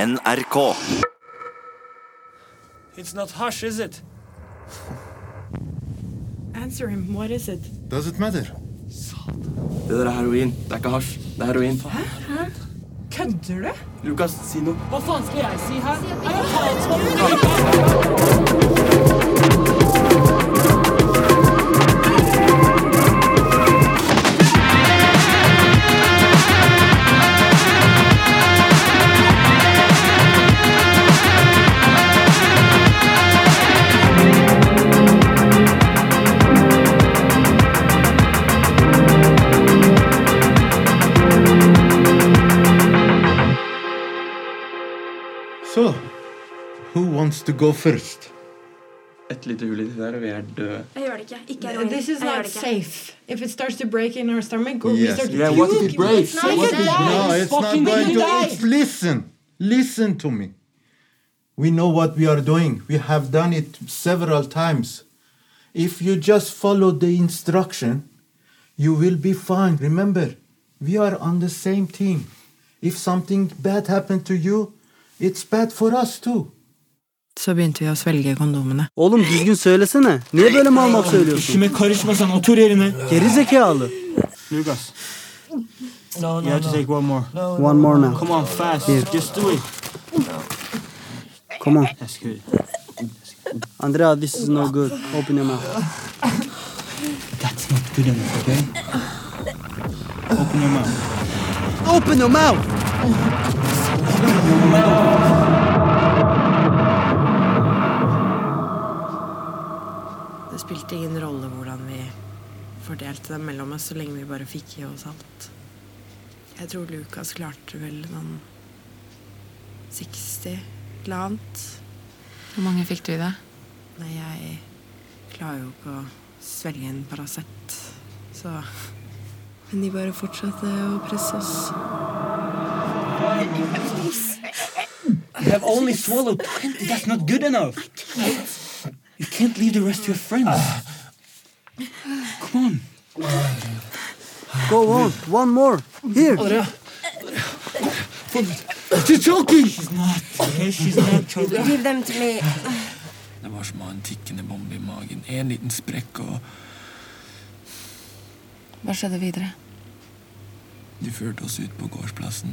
NRK. It's not hush, is it? Answer him. What is it? Does it matter? Det der er heroin. Det er ikke hasj. Det er heroin. Kødder du? Lukas, si noe. Hva faen skal jeg si her? Er jeg So, who wants to go first? Et lite hull i det der, og vi er døde. Jeg gjør det ikke. Ikke heroin. This is Jeg gjør not det ikke. safe. If it starts to break in our stomach, go Yes. we start Yeah, what if it breaks? Nei, What ikke if- det. No, it's not fucking going to. die. It's, listen, listen to me. We know what we are doing. We have done it several times. If you just follow the instruction, you will be fine. Remember, we are on the same team. If something bad happened to you, it's bad for us too. Så begynte vi å svelge kondomene. Oğlum düzgün söylesene. Niye böyle mal mal söylüyorsun? İşime karışmasan otur yerine. Geri zekalı. Lucas, No, you have to take one more. One more now. Come on, fast. Just do it. Come on. That's good. Andrea, this is no good. Open your mouth. That's not good enough, okay? Open your mouth. Open your mouth! Det spilte ingen rolle hvordan vi fordelte dem mellom oss, så lenge vi bare fikk i oss alt. Jeg tror Lukas klarte vel noen 60 eller annet. Hvor mange fikk du i deg? Nei, jeg klarer jo ikke å svelge en Paracet, så Men de bare fortsatte å presse oss. You have only swallowed 20. That's not good enough. You can't leave the rest to your friends. Ah. Come on. Go on. One more. Here. She's choking! She's not. Okay, she's not choking. Give them to me. Det var som å ha en tikkende bombe i magen. En liten sprekk, og Hva skjedde videre? de førte oss ut på gårdsplassen.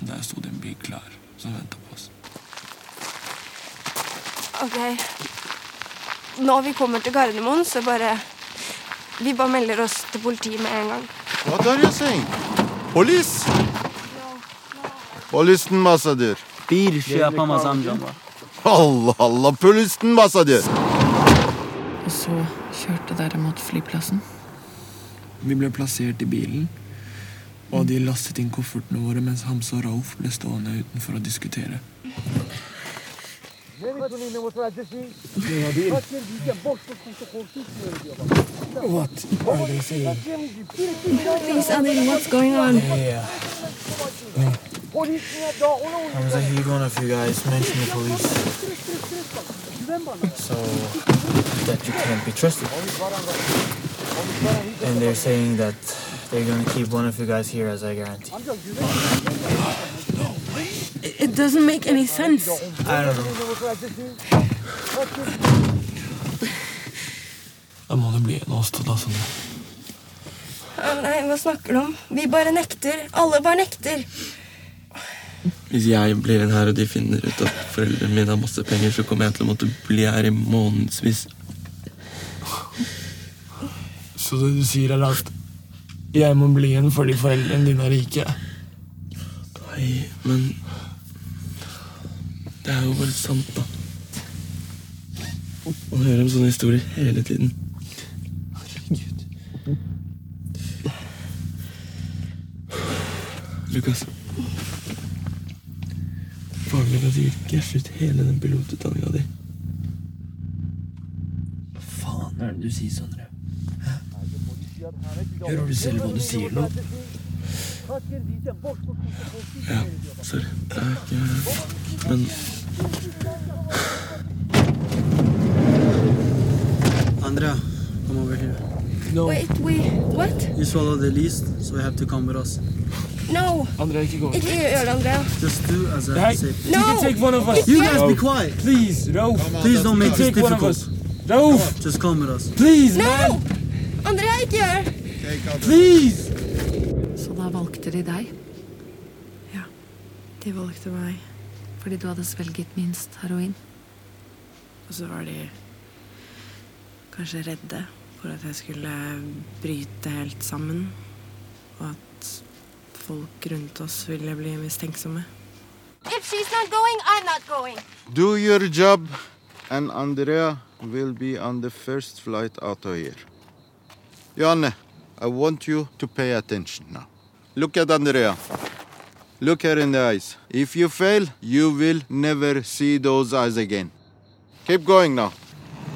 Der sto det en bil klar, som venta på oss. Ok. Når vi kommer til Gardermoen, så bare Vi bare melder oss til politiet med en gang. What are you saying? Police? Polis masadır. Bir şey yapamaz amcam. Allah Allah polis masadır. Og så kjørte dere mot flyplassen. Vi ble plassert i bilen, og de lastet inn koffertene våre mens Hamse og Rauf ble stående utenfor og diskutere. Please, Anil, what's going on? Sounds like either one of you guys mentioned the police. So that you can't be trusted. And they're saying that they're gonna keep one of you guys here as I guarantee. It doesn't make any sense. I don't know. Da må det bli en av oss to, da, Sondre. Nei, hva snakker du om? Vi bare nekter. Alle bare nekter. Hvis jeg blir igjen her og de finner ut at foreldrene mine har masse penger, så kommer jeg til å måtte bli her i månedsvis. Så det du sier er at jeg må bli igjen fordi foreldrene dine er rike? Nei, men Det er jo bare sant, da. Man hører om sånne historier hele tiden. Herregud. Lukas. Faren min har sikkert cashet hele den pilotutdanninga di. Hva faen er det du sier, Sondre? Hører du selv hva du sier nå? Ja, sorry. Det er ikke Men Andrea, come over here. Wait, we What? You swallow the least, so you have to come with us. No, André, ikke gå. ikke gjør det, Andrea. Just do as I Hey, say. you can take one of us. You guys be quiet. Please, Rolf. Please don't make this Take one of difficult. us. Rolf, Just come with us. please, man. No! Andrea, ikke gjør det! Please. Så da valgte de deg De valgte meg, fordi du hadde svelget minst heroin. og så var de kanskje redde for at jeg skulle bryte helt sammen. Og at folk rundt oss ville bli mistenksomme. If she's not going, I'm not going. Do your job, and Andrea will be on the first flight out of here. Janne, I want you to pay attention now. Look at Andrea. Look her in the eyes. If you fail, you will never see those eyes again. Keep going now.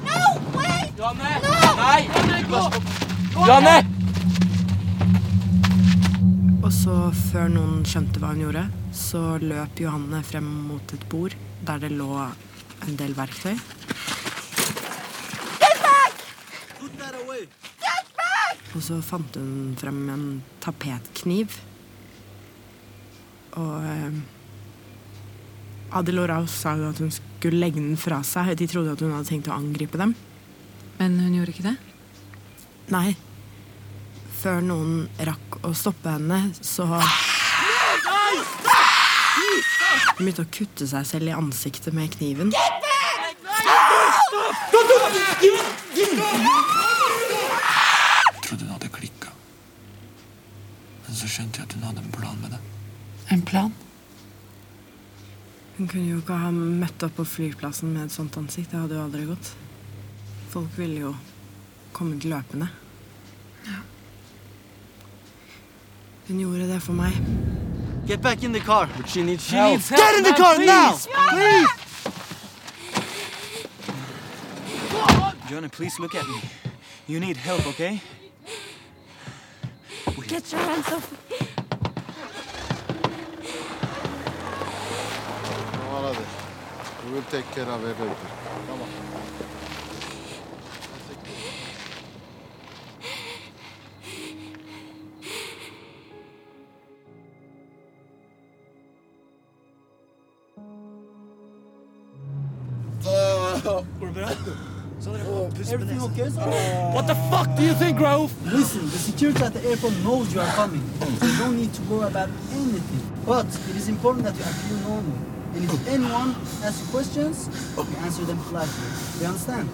Janne! Nei! Janne! Og så, før noen skjønte hva hun gjorde, så løp Johanne frem mot et bord der det lå en del verktøy. Og så fant hun frem en tapetkniv. Og eh, Adil og Raus sa jo at hun skulle legge den fra seg. De trodde at hun hadde tenkt å angripe dem. Men hun gjorde ikke det. Nei. Før noen rakk å stoppe henne, så Hun begynte å kutte seg selv i ansiktet med kniven. Jeg trodde hun hadde klikka. Men så skjønte jeg at hun hadde en plan med det. En plan. Hun kunne jo ikke ha møtt opp på flyplassen med et sånt ansikt. Det hadde jo aldri gått. Folk ville jo kommet løpende. Hun gjorde det for meg. Get back in the car. She needs. She Help. needs. Get in the car now. Please. Janne, please look at me. You need help, okay? Get your hands off. We will take care of everything. Everything okay, Uh, What the fuck do you think, Rolf? Listen, the security at the airport knows you are coming. So you don't need to worry about anything. But it is important that you appear normal. And if anyone asks you questions, you answer them politely. You understand?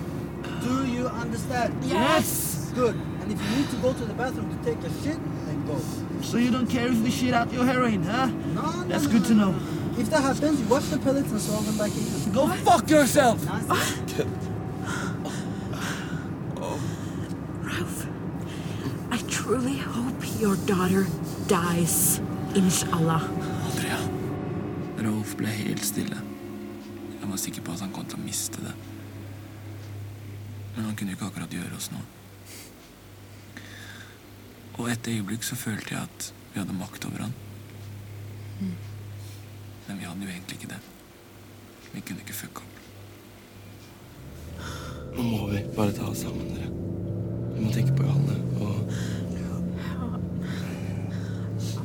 Do you understand? Yes! Good. And if you need to go to the bathroom to take a shit, then go. So you don't care if we shit out your heroin, huh? No, no, That's no, good no, to no, know. no. If that happens, you wash the pellets and swallow them back in. Go fuck yourself! Nice. I truly hope your daughter dies. Inshallah. Andrea. Rolf ble helt stille. Jeg var sikker på at han kom til å miste det. Men han kunne ikke akkurat gjøre oss noe. Og et øyeblikk så følte jeg at vi hadde makt over han. Men vi hadde jo egentlig ikke det. Vi kunne ikke fucke opp. Nå må vi bare ta oss sammen, dere. Vi må tenke på Johanne og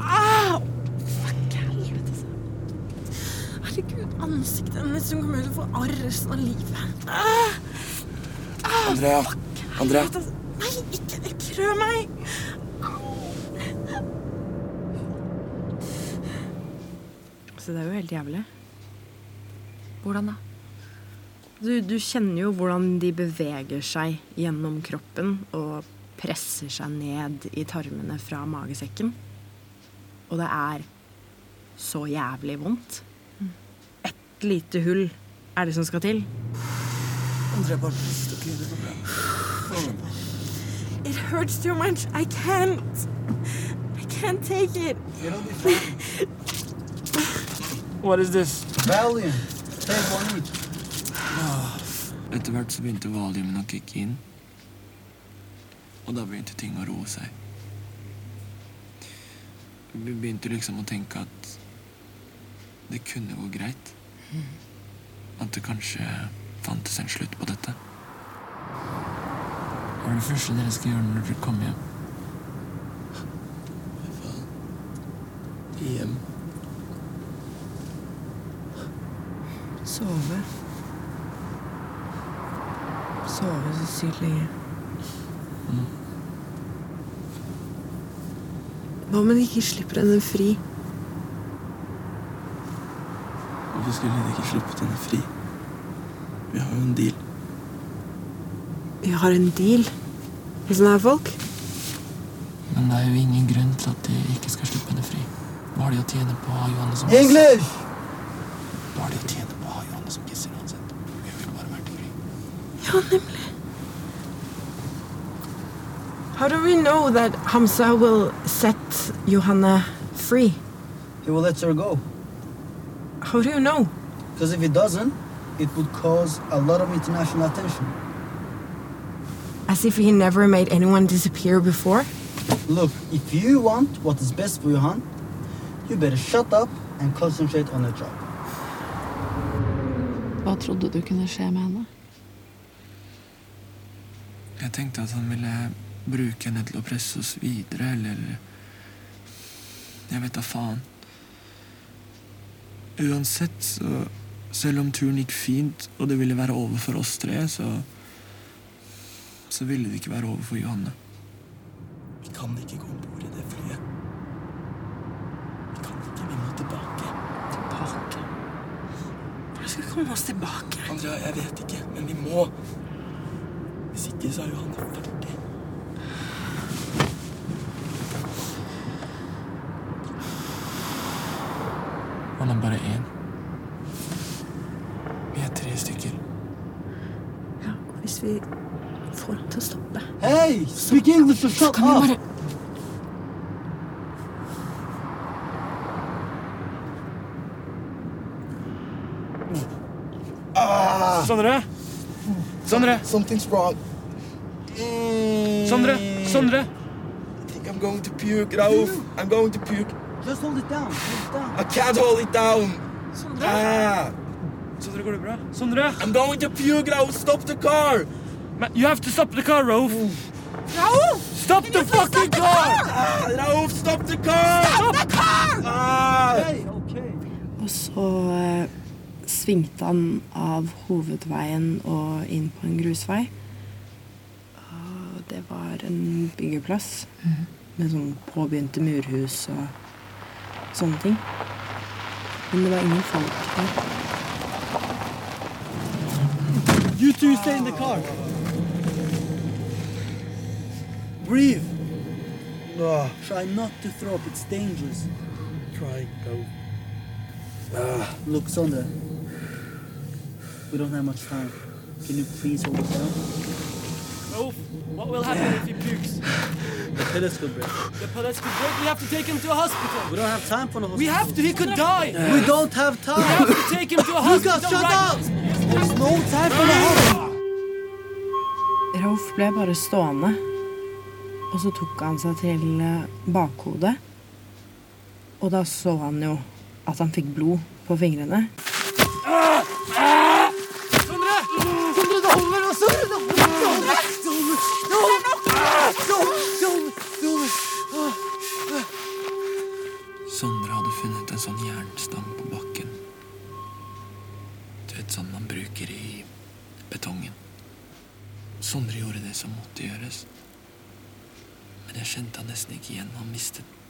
Ah, altså. Herregud, ansiktet hennes. Hun kommer til å få arr resten av livet. Ah. Andrea! Andrea! Nei, ikke det. Krø meg. Så det er jo helt jævlig. Hvordan da? Du, du kjenner jo hvordan de beveger seg gjennom kroppen og presser seg ned i tarmene fra magesekken. Og det er så jævlig vondt. Ett lite hull er det som skal til. It hurts too much. I can't. I can't take it. What is this? Valiant. Take one each. Etter hvert så begynte valiumen å kicke inn. Og da begynte ting å roe seg. Vi begynte liksom å tenke at det kunne gå greit. At det kanskje fantes en slutt på dette. Hva er det første dere skal gjøre når dere kommer hjem? hjem. Sove. Sove så sykt lenge. Mm. Hva om hun ikke slipper henne fri? Hvorfor skulle hun ikke sluppet henne fri? Vi har jo en deal. Vi har en deal med sånne her folk. Men det er jo ingen grunn til at de ikke skal slippe henne fri. Hva har de å tjene på å ha Johanne som English! Hva har de å tjene på å ha Johanne som gisser uansett? Vi vil bare være fri. Ja, nemlig. How do we know that Hamza will set Johanna free? He will let her go. How do you know? Because if he doesn't, it would cause a lot of international attention. As if he never made anyone disappear before? Look, if you want what is best for Johan, you better shut up and concentrate on your job. Hva trodde du kunne skje med henne? Jeg tenkte at han ville bruke henne til å presse oss videre, eller Jeg vet da faen. Uansett, så Selv om turen gikk fint, og det ville være over for oss tre, så Så ville det ikke være over for Johanne. Vi kan ikke gå om bord i det flyet. Vi kan ikke. Vi må tilbake. Tilbake? Hvordan skal vi komme oss tilbake? Andrea, jeg vet ikke, men vi må. Hvis ikke, så er jo han ferdig. Han er bare én. Vi er tre stykker. Ja, hvis vi får ham til å stoppe. Hey, speak English or shut Kan vi up! bare Sondre? Sondre? Ah. Something's wrong. Sondre? Sondre? I think I'm going to puke, Raouf. I'm going to puke. Just hold it down, hold it down. I can't hold it down. Ah, Sondre, går det bra? Sondre? I'm going to puke, Raouf. Stop the car. Man, you have to stop the car, Rolf. Stop the fucking car! Ah, Raouf, stop the car. Stop the car! Ah. Hey, okay. Og så eh, svingte han av hovedveien og inn på en grusvei. Og det var en byggeplass med sånn påbegynte murhus og sånne ting. Men det var ingen folk der. You two stay in the car. Breathe. Ah, Try not to throw up, it's dangerous. Try, go. Look, Sonda. We don't have much time. Can you please hold it down? Rolf, what will happen if he pukes? The telescope break. The pellets could break. We have to take him to a hospital. We don't have time for the We hospital. have to. He could die. We don't have We time. have to take him to a hospital. Lucas, shut right up! There's no time for the hospital. Rolf ble bare stående. Og så tok han seg til eh, bakhodet. Og da så han jo at han fikk blod på fingrene. Sondre, det holder nå! Sondre, det holder! Det holder! Det holder! Det holder! Det holder! Det holder! Det holder! Sondre hadde funnet en sånn jernstang på bakken. Du vet, sånn man bruker i betongen. Sondre gjorde det som måtte gjøres. Men jeg kjente han nesten ikke igjen. Han mistet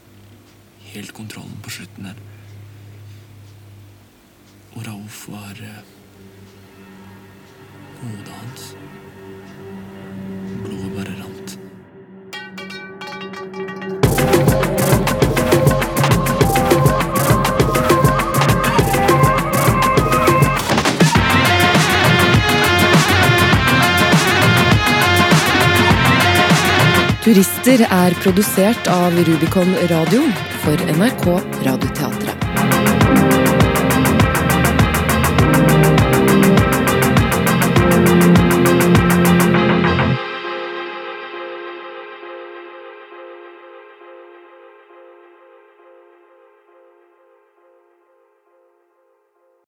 helt kontrollen på slutten der. Og Raouf var eh, Hodet hans. Blodet bare rant. Turister er produsert av Rubicon Radio for NRK Radioteatret.